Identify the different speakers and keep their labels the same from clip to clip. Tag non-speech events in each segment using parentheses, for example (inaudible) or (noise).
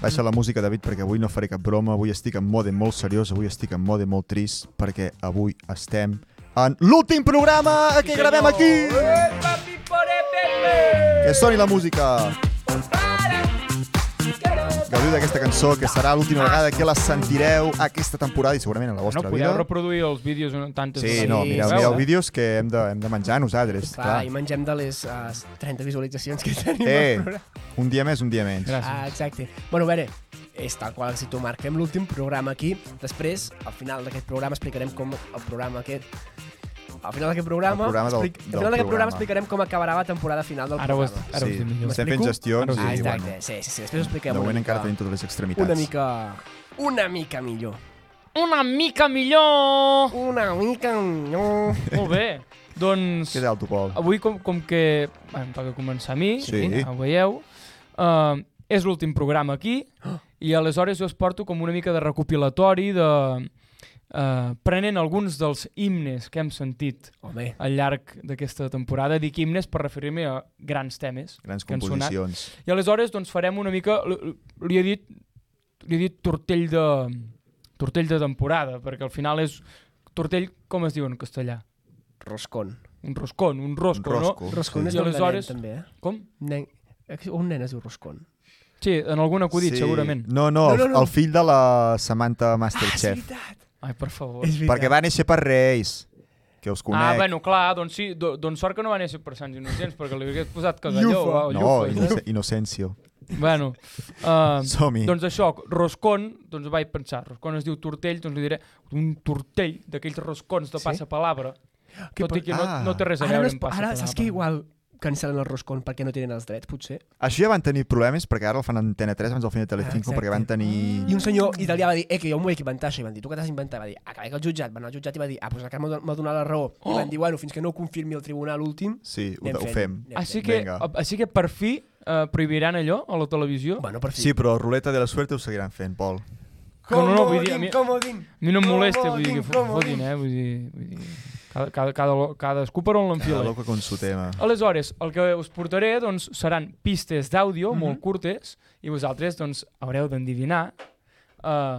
Speaker 1: Baixa la música, David, perquè avui no faré cap broma. Avui estic en mode molt seriós, avui estic en mode molt trist, perquè avui estem en l'últim programa que gravem aquí! Que soni la música! Gaudiu d'aquesta cançó, que serà l'última vegada que la sentireu aquesta temporada i segurament a la
Speaker 2: No
Speaker 1: vostra
Speaker 2: podeu
Speaker 1: vida.
Speaker 2: reproduir els vídeos un- tantes
Speaker 1: Sí,
Speaker 2: vegades.
Speaker 1: no,
Speaker 3: Sí,
Speaker 1: mireu,
Speaker 2: Veu,
Speaker 1: mireu
Speaker 2: eh?
Speaker 1: vídeos que hem de, hem de menjar nosaltres,
Speaker 3: Va,
Speaker 1: clar.
Speaker 3: i mengem de les uh, 30 visualitzacions que tenim al
Speaker 1: Eh,
Speaker 3: programa.
Speaker 1: un dia més, un dia menys.
Speaker 2: Gràcies.
Speaker 3: Ah, exacte. Bueno, a veure, és tal qual si tu marquem l'últim programa aquí. Després, al final d'aquest programa, explicarem com el programa aquest... Al final d'aquest programa,
Speaker 1: El programa del-
Speaker 3: explic-
Speaker 1: del
Speaker 3: al final d'aquest
Speaker 1: programa.
Speaker 3: programa explicarem com acabarà la temporada final del
Speaker 2: Ara ho, est-
Speaker 3: programa.
Speaker 2: ara ho
Speaker 1: Sí,
Speaker 2: estic millor.
Speaker 1: estem fent
Speaker 2: M'explico?
Speaker 1: gestions
Speaker 2: Ara
Speaker 3: Ah,
Speaker 2: ho
Speaker 1: Sí,
Speaker 2: estic.
Speaker 3: exacte,
Speaker 1: bueno.
Speaker 3: sí, sí, sí. Després ho expliquem
Speaker 1: De
Speaker 3: una
Speaker 1: moment
Speaker 3: mica,
Speaker 1: encara tenim totes les extremitats.
Speaker 3: una mica... Una mica millor.
Speaker 2: Una mica millor!
Speaker 3: Una mica millor.
Speaker 2: (laughs) Molt bé. Doncs
Speaker 1: Què tal, tu, Pol?
Speaker 2: avui, com, com que em toca començar a mi, eh,
Speaker 1: Sí.
Speaker 2: ho veieu, uh, és l'últim programa
Speaker 1: (gasps)
Speaker 2: aquí i aleshores jo es porto com una mica de recopilatori de... Uh, prenent alguns dels himnes que hem sentit
Speaker 3: Home,
Speaker 2: al llarg d'aquesta temporada. Dic himnes per referir-me a grans temes
Speaker 1: Grans
Speaker 2: que han sonat.
Speaker 1: composicions.
Speaker 2: I aleshores doncs, farem una mica... l- l- Li he dit, li he dit tortell, de, tortell de temporada, perquè al final és... Tortell, com es diu en castellà?
Speaker 3: roscon.
Speaker 2: Un roscon, un
Speaker 1: Un
Speaker 2: rosco,
Speaker 1: rosco.
Speaker 2: no?
Speaker 3: Roscon
Speaker 1: sí.
Speaker 3: és
Speaker 2: I
Speaker 3: nom de
Speaker 2: aleshores-
Speaker 3: nen, també, eh?
Speaker 2: Com?
Speaker 3: Nen... Un nen es diu roscon.
Speaker 2: Sí, en algun acudit, sí. segurament.
Speaker 1: No, no,
Speaker 3: No,
Speaker 1: el,
Speaker 3: no, Ah, no.
Speaker 1: el fill de la Samantha Masterchef.
Speaker 3: veritat.
Speaker 2: Ai, per favor.
Speaker 3: És veritat.
Speaker 1: perquè va néixer per Reis, que us conec.
Speaker 2: Ah, bueno, clar, doncs sí, do, doncs sort que no va néixer per Sants Innocents, perquè li hagués posat cagalló
Speaker 3: Llufa.
Speaker 2: o
Speaker 1: no,
Speaker 2: llufa.
Speaker 1: Innoce- Innocencio. (laughs)
Speaker 2: Bueno, uh,
Speaker 1: Som-hi.
Speaker 2: doncs això, roscon, doncs vaig pensar, roscon es diu tortell, doncs li diré un tortell d'aquells roscons de
Speaker 3: Sí?
Speaker 2: passapalabra,
Speaker 3: Que
Speaker 2: tot i
Speaker 3: pot-
Speaker 2: que no,
Speaker 1: Ah.
Speaker 2: no té res a
Speaker 3: Ara, no
Speaker 2: veure
Speaker 3: es,
Speaker 2: amb
Speaker 3: po- ara
Speaker 2: passapalabra.
Speaker 3: saps que igual cancel·len el roscon perquè no tenen els drets, potser?
Speaker 1: Això ja van tenir problemes, perquè ara el fan a Antena 3 abans del final de Telecinco,
Speaker 3: Ah, exacte.
Speaker 1: perquè van
Speaker 3: I
Speaker 1: tenir...
Speaker 3: un senyor italià va dir, eh, que jo m'ho vaig inventar, això, i van dir, tu què t'has inventat? Va dir, acabé que el jutjat, va anar al jutjat i va dir, ah, doncs el Carme m'ha donat la raó.
Speaker 2: Oh.
Speaker 3: I van dir, bueno, fins que no ho confirmi el tribunal últim,
Speaker 1: Sí, ho,
Speaker 3: anem
Speaker 1: ho
Speaker 3: fent,
Speaker 1: fem.
Speaker 3: anem
Speaker 2: Així
Speaker 3: fent.
Speaker 2: que,
Speaker 1: Vinga.
Speaker 2: a- així que per fi eh, prohibiran allò a la televisió.
Speaker 3: Bueno, per fi.
Speaker 1: Sí, però Ruleta de la Suerte ho seguiran fent, Pol.
Speaker 2: No, no, no, vull dir, a mi-
Speaker 3: comodín.
Speaker 2: A mi no em molesta, vull
Speaker 3: Comodín,
Speaker 2: dir, que fo-
Speaker 3: comodín.
Speaker 2: fotin, eh? Vull dir, vull dir cada, cada, cada, cadascú per on
Speaker 1: La
Speaker 2: l'enfila.
Speaker 1: loca con su tema.
Speaker 2: Aleshores, el que us portaré doncs, seran pistes d'àudio
Speaker 3: Mhm.
Speaker 2: molt curtes i vosaltres doncs, haureu d'endevinar eh,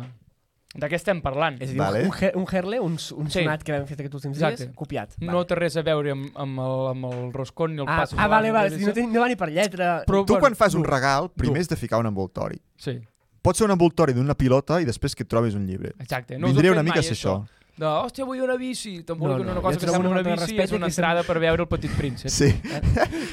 Speaker 2: de què estem parlant.
Speaker 3: És a dir,
Speaker 1: Vale.
Speaker 3: vale. un, her- un herle, un, s- un
Speaker 2: Sí.
Speaker 3: sonat que vam fer aquests últims
Speaker 2: Exacte.
Speaker 3: dies, copiat.
Speaker 2: No té res a veure amb, amb, el, amb el roscon ni el eh,
Speaker 3: Ah,
Speaker 2: passo.
Speaker 3: ah, vale, vale, no, ten, no va ni per lletra.
Speaker 2: Però,
Speaker 1: Tu quan fas un
Speaker 2: dur,
Speaker 1: regal, primer has de ficar un envoltori.
Speaker 2: Sí,
Speaker 1: Pot ser un envoltori d'una pilota i després que et trobis un llibre.
Speaker 2: exacte. No us ho
Speaker 1: Vindria
Speaker 2: fem
Speaker 1: una mica
Speaker 2: mai,
Speaker 1: a ser això.
Speaker 2: De, hòstia, vull una bici. Tampoc
Speaker 3: No,
Speaker 2: no, no,
Speaker 3: no,
Speaker 2: una
Speaker 3: jo
Speaker 2: cosa que
Speaker 3: trobo
Speaker 2: sembla
Speaker 3: una
Speaker 2: una
Speaker 3: falta de
Speaker 2: bici és
Speaker 3: respecte
Speaker 2: una
Speaker 3: que se-
Speaker 2: entrada per veure el petit príncep.
Speaker 1: Sí.
Speaker 2: (laughs)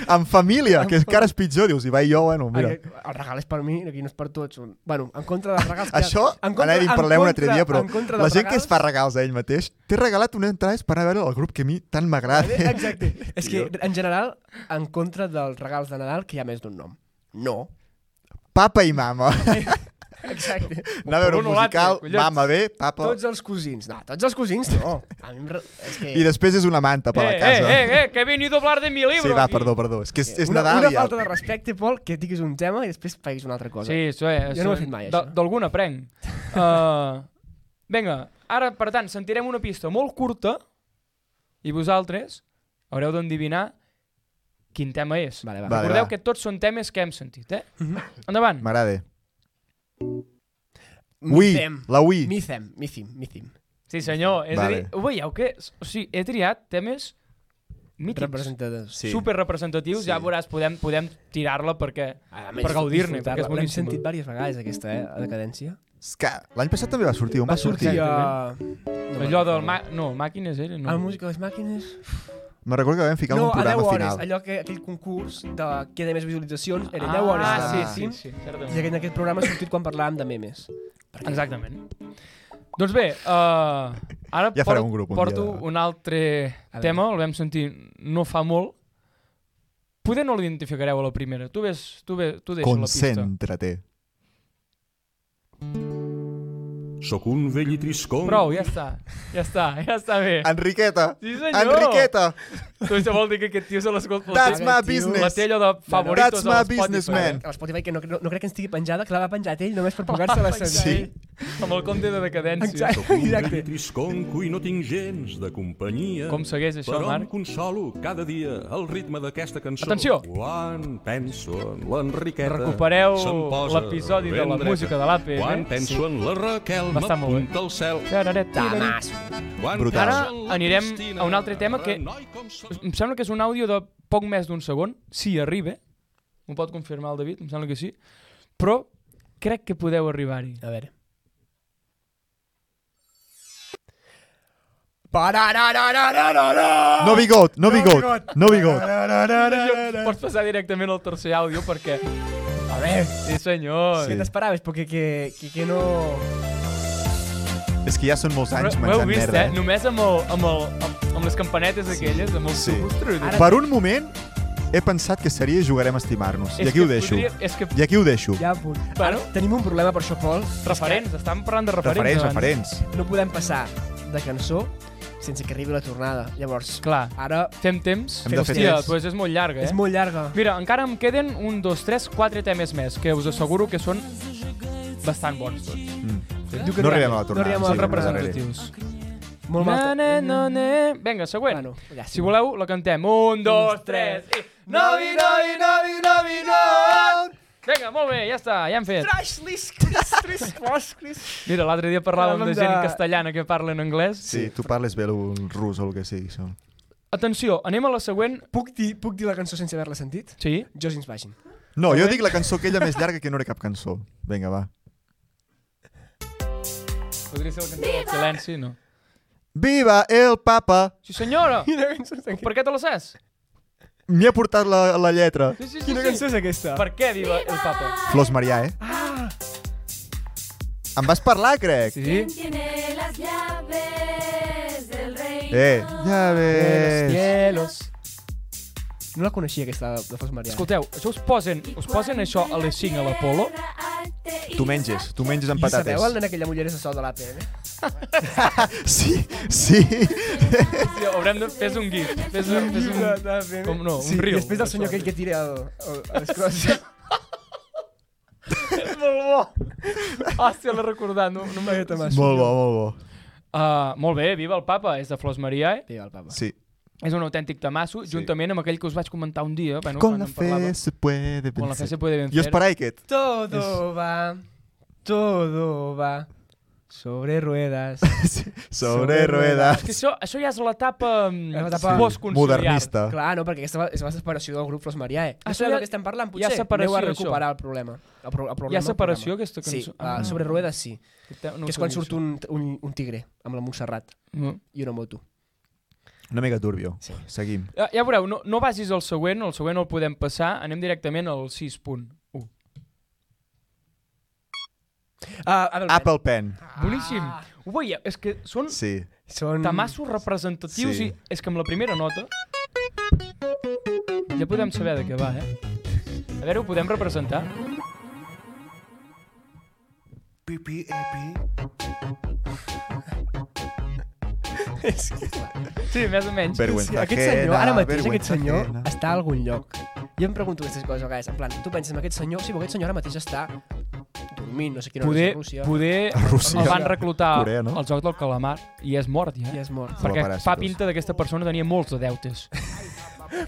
Speaker 1: en família, que encara és pitjor. Dius, i va i jo, bueno,
Speaker 3: Mira.
Speaker 1: mira.
Speaker 3: El regal és per mi, aquí no és per tots. Bueno, en contra dels regals... Que...
Speaker 1: Això,
Speaker 3: en
Speaker 1: ara hi
Speaker 3: en
Speaker 1: parlem un altre
Speaker 3: contra-
Speaker 1: dia, però
Speaker 3: en contra
Speaker 1: la
Speaker 3: dels
Speaker 1: gent que es
Speaker 3: regals-
Speaker 1: fa regals a ell mateix té regalat una entrada per anar a veure el grup que a mi tant m'agrada.
Speaker 3: eh, Exacte. és que, en general, en contra dels regals de Nadal, que hi ha més d'un nom. No.
Speaker 1: (laughs) Papa i mama.
Speaker 3: (laughs) Exacte.
Speaker 1: Anar a veure un
Speaker 2: un o l'altre,
Speaker 1: musical,
Speaker 2: collons.
Speaker 1: mama bé, papa...
Speaker 3: Tots els cosins. No, tots els cosins no. A mi em... re- És que...
Speaker 1: I després és una manta per la
Speaker 2: Eh,
Speaker 1: casa.
Speaker 2: eh, eh, eh, que he venido a hablar de mi libro.
Speaker 1: Sí, va,
Speaker 2: aquí.
Speaker 1: perdó, perdó. És que és, és
Speaker 3: una,
Speaker 1: Nadal
Speaker 3: una
Speaker 1: i ja.
Speaker 3: falta de respecte, Pol, que diguis un tema i després facis una altra cosa.
Speaker 2: Sí, això és.
Speaker 3: Jo no ho he fet mai,
Speaker 2: d-
Speaker 3: això.
Speaker 2: D'algun
Speaker 3: (laughs)
Speaker 2: aprenc. Uh, vinga, ara, per tant, sentirem una pista molt curta i vosaltres haureu d'endevinar quin tema és.
Speaker 3: Vale, va. Mhm.
Speaker 1: Vale. va.
Speaker 2: Recordeu que tots són temes que hem sentit, eh? Endavant.
Speaker 1: M'agrada. Ui,
Speaker 3: Micem.
Speaker 1: la Ui.
Speaker 3: Micem, micim, micim.
Speaker 2: Sí, senyor. És a
Speaker 1: Vale.
Speaker 2: dir, ho veieu que... O sigui, he triat temes mítics.
Speaker 3: Representadors.
Speaker 1: Sí.
Speaker 2: super representatius,
Speaker 1: Sí.
Speaker 2: ja veuràs, podem, podem tirar-la perquè...
Speaker 3: A
Speaker 2: Per gaudir-ne, perquè és
Speaker 3: L'hem
Speaker 2: boníssima.
Speaker 3: sentit diverses vegades, aquesta, eh, a decadència.
Speaker 1: És que L'any passat també va sortir. On va, sortir?
Speaker 3: Sortia... No me'n
Speaker 2: allò del...
Speaker 3: recordo.
Speaker 2: Ma... No, màquines era, no?
Speaker 3: El músic de Ah, les màquines...
Speaker 1: Me recordo que vam ficar
Speaker 3: no,
Speaker 1: un
Speaker 3: a 10
Speaker 1: programa
Speaker 3: hores,
Speaker 1: final.
Speaker 3: allò que aquell concurs de qui té més visualitzacions, era 10 hores.
Speaker 2: Ah,
Speaker 3: de
Speaker 2: sí, sí,
Speaker 3: màxim,
Speaker 2: sí,
Speaker 3: I
Speaker 2: certament.
Speaker 3: en aquest programa ha sortit quan parlàvem de memes.
Speaker 2: Exactament. Doncs bé, uh, ara
Speaker 1: Ja farem un grup un
Speaker 2: porto
Speaker 1: dia eh? de-
Speaker 2: un altre
Speaker 3: A
Speaker 2: tema, el vam sentir no fa molt. Poder no l'identificareu a la primera. Tu ves, tu ves, tu deixes la pista.
Speaker 1: Concèntrate.
Speaker 4: Sóc un vell i triscó.
Speaker 2: Prou, ja està, ja està, ja està bé.
Speaker 1: Enriqueta.
Speaker 2: Sí, senyor.
Speaker 1: Enriqueta.
Speaker 2: Tu això vol dir que aquest tio se l'escolta.
Speaker 1: That's my
Speaker 3: tio,
Speaker 2: La
Speaker 1: business.
Speaker 2: té allò de favoritos
Speaker 1: That's my
Speaker 2: a Spotify. eh?
Speaker 1: businessman.
Speaker 3: A Spotify, que no, no, no crec que estigui penjada, que la va penjat ell només per poder-se la
Speaker 2: penjar
Speaker 3: sentir.
Speaker 1: ell.
Speaker 2: Amb el compte de decadència.
Speaker 3: Exacte.
Speaker 4: Sóc
Speaker 2: (laughs)
Speaker 4: un
Speaker 3: Exacte.
Speaker 4: vell trisconco i no tinc gens de companyia.
Speaker 2: Com segueix això,
Speaker 4: però
Speaker 2: Marc?
Speaker 4: em consolo cada dia al ritme d'aquesta cançó.
Speaker 2: Atenció!
Speaker 4: Quan penso en l'Enriqueta...
Speaker 2: Recupereu
Speaker 4: se'm posa
Speaker 2: l'episodi de
Speaker 4: ben
Speaker 2: la
Speaker 4: dreta.
Speaker 2: música de l'APM,
Speaker 4: Quan
Speaker 2: eh?
Speaker 4: penso
Speaker 2: Sí.
Speaker 4: en la Raquel,
Speaker 2: Va estar molt bé.
Speaker 4: m'apunta al cel.
Speaker 3: Tamàs.
Speaker 4: Quan
Speaker 1: Brutal.
Speaker 4: penso en la
Speaker 2: Ara anirem
Speaker 4: Cristina,
Speaker 2: a un altre tema que-
Speaker 4: renoi com sol.
Speaker 2: Em sembla que és un àudio de poc més d'un segon, si arriba. eh? M'ho pot confirmar el David, em sembla que sí. Però crec que podeu arribar-hi.
Speaker 3: A veure. Pararararararara!
Speaker 1: No bigot, no bigot, no bigot.
Speaker 3: Pararararararara.
Speaker 2: Pots passar directament al tercer àudio perquè...
Speaker 3: A ver,
Speaker 2: Sí, senyor.
Speaker 3: ¿qué
Speaker 1: Sí.
Speaker 3: te esperabas? Porque que, que, que no...
Speaker 1: És que ja són molts anys
Speaker 2: Ho heu
Speaker 1: menjant
Speaker 2: vist,
Speaker 1: merda.
Speaker 2: eh? Només amb, el, amb, el, amb, amb les campanetes aquelles, amb el
Speaker 1: Sí.
Speaker 2: Ostres,
Speaker 3: Ara-
Speaker 1: Per un moment he pensat que seria Jugarem a estimar-nos. I aquí ho
Speaker 2: que
Speaker 1: deixo.
Speaker 2: Podria, és que
Speaker 1: I aquí ho deixo.
Speaker 3: Ja, punt.
Speaker 2: Bueno.
Speaker 3: Bueno. Tenim un problema per això, Pol.
Speaker 2: referents, estàvem parlant de
Speaker 1: Referents,
Speaker 2: referents. eh? abans.
Speaker 1: referents.
Speaker 3: No podem passar de cançó sense que arribi la tornada. Llavors,
Speaker 2: Clar,
Speaker 3: ara
Speaker 2: fem temps.
Speaker 1: Hem de fer
Speaker 2: Hòstia,
Speaker 1: temps.
Speaker 2: doncs és molt llarga, eh?
Speaker 3: és molt llarga.
Speaker 2: Mira, encara em queden un, dos, tres, quatre temes més, que us asseguro que són bastant bons tots.
Speaker 1: Mm.
Speaker 3: Diu que
Speaker 1: No arribem a la
Speaker 3: No
Speaker 1: tornada.
Speaker 3: arribem
Speaker 1: sí,
Speaker 3: a
Speaker 2: Molt
Speaker 3: la
Speaker 1: anem
Speaker 3: tornada.
Speaker 1: darrere.
Speaker 2: representatius.
Speaker 3: Molt
Speaker 2: Na,
Speaker 3: mal.
Speaker 2: na, na, na. Vinga, següent.
Speaker 3: Bueno, ja,
Speaker 2: Si voleu, la cantem. Un, dos, tres, i... Novi, novi, novi, novi, no! Vinga, molt bé, ja està, ja hem fet.
Speaker 3: Trash, lis, cris, cris, cros, cris.
Speaker 2: Mira, l'altre dia parlàvem
Speaker 3: Parlàvem
Speaker 2: de gent
Speaker 3: de-
Speaker 2: castellana que parla en anglès.
Speaker 1: Sí, tu parles bé el rus o el que sigui. Això.
Speaker 2: Atenció, anem a la següent.
Speaker 3: Puc dir, puc dir la cançó sense haver-la sentit?
Speaker 2: Sí?
Speaker 3: Josins
Speaker 2: (laughs)
Speaker 3: Vagin.
Speaker 1: No, jo dic la cançó aquella més llarga que no era cap cançó. Vinga, va.
Speaker 2: Podria ser la cançó del silenci, no?
Speaker 1: Viva el papa!
Speaker 2: Sí, senyora!
Speaker 3: Quina cançó és aquesta?
Speaker 2: Per què te la saps?
Speaker 1: M'hi ha portat la, la lletra.
Speaker 2: Sí, sí, sí,
Speaker 3: Quina
Speaker 2: sí.
Speaker 3: cançó és aquesta?
Speaker 2: Per què viva el papa?
Speaker 1: Flors Marià, eh? Ah. Em vas parlar, crec.
Speaker 2: Sí?
Speaker 5: Tiene las llaves del reino.
Speaker 1: Eh, ja
Speaker 3: Cielos,
Speaker 1: ves.
Speaker 3: cielos. No la coneixia, aquesta de de Fos Marià.
Speaker 2: Escolteu, això us posen, us posen això a les 5 a l'Apolo,
Speaker 1: Tu menges, tu menges amb
Speaker 3: I sabeu el
Speaker 1: patates.
Speaker 3: nen aquella muller de sol de l'APM?
Speaker 1: Sí,
Speaker 2: (laughs)
Speaker 1: sí.
Speaker 2: Sí, haurem de... Fes un gif. Fes un, fes un... Com no, un
Speaker 3: sí,
Speaker 2: riu.
Speaker 3: I després del senyor aquell que tira el, el, el escroci.
Speaker 2: (laughs) És molt bo. Hòstia, l'he recordat. No, no m'he...
Speaker 1: molt bo, molt bo.
Speaker 2: Uh, molt bé, viva el papa. És de Flors Maria, eh?
Speaker 3: Viva el papa.
Speaker 1: Sí.
Speaker 2: És un autèntic tamasso, sí. juntament amb aquell que us vaig comentar un dia. Bueno,
Speaker 1: Con
Speaker 2: quan
Speaker 1: la
Speaker 2: en parlava.
Speaker 1: fe se puede
Speaker 2: Con la fe se
Speaker 1: vencer.
Speaker 2: puede vencer.
Speaker 1: Jo esperava aquest.
Speaker 3: Todo va, todo va sobre ruedas.
Speaker 1: Sí. Sobre ruedas.
Speaker 2: És (laughs) que això, això ja és l'etapa mm,
Speaker 3: És l'etapa
Speaker 2: postconciliar.
Speaker 1: Modernista.
Speaker 3: (laughs) Clar, no, perquè aquesta va- és la separació del grup Flos Mariae.
Speaker 2: Ah,
Speaker 3: No
Speaker 2: això
Speaker 3: sabeu
Speaker 2: ja-
Speaker 3: del que estem parlant,
Speaker 2: hi ha
Speaker 3: potser? Aneu
Speaker 2: separació,
Speaker 3: a recuperar el problema. El, pro el problema
Speaker 2: Hi ha separació,
Speaker 3: el
Speaker 2: aquesta
Speaker 3: programa.
Speaker 2: cançó?
Speaker 3: Sí, ah. sobre ruedes sí.
Speaker 2: No
Speaker 3: que és
Speaker 2: ho
Speaker 3: quan
Speaker 2: sabia,
Speaker 3: surt un, un, un tigre amb la Montserrat
Speaker 2: això. No.
Speaker 3: i una moto.
Speaker 1: Una mica turbio.
Speaker 3: Sí.
Speaker 1: Seguim.
Speaker 2: Ja, ja veureu, no, no vagis al següent, el següent el podem passar, anem directament al 6.1.
Speaker 3: Ah, Apple, Apple.
Speaker 1: Apple Pen.
Speaker 2: Boníssim. Ho veieu? És que són sí.
Speaker 1: Sí.
Speaker 3: Són... (laughs)
Speaker 2: tamassos representatius
Speaker 1: Mm. Sí.
Speaker 2: sí. i és que amb la primera nota ja podem saber de què va, eh? A veure, ho podem representar?
Speaker 3: És que...
Speaker 2: Sí, més o menys. Però...
Speaker 1: Vergüenza
Speaker 3: aquest
Speaker 1: ajena,
Speaker 3: senyor, ara mateix aquest
Speaker 1: vergüenza
Speaker 3: senyor
Speaker 1: ajena.
Speaker 3: està a algun lloc. Jo em pregunto aquestes coses a vegades, en plan, tu penses en aquest senyor, sí, però aquest senyor ara mateix està dormint, no sé quina hora és a
Speaker 2: Poder,
Speaker 3: Rússia,
Speaker 2: poder
Speaker 1: A Rússia.
Speaker 2: el van reclutar
Speaker 1: Corea, no?
Speaker 2: al joc del calamar i és mort, ja.
Speaker 3: i és mort.
Speaker 1: Com a
Speaker 2: Perquè fa
Speaker 1: paràsitos.
Speaker 2: pinta d'aquesta persona tenia molts de deutes.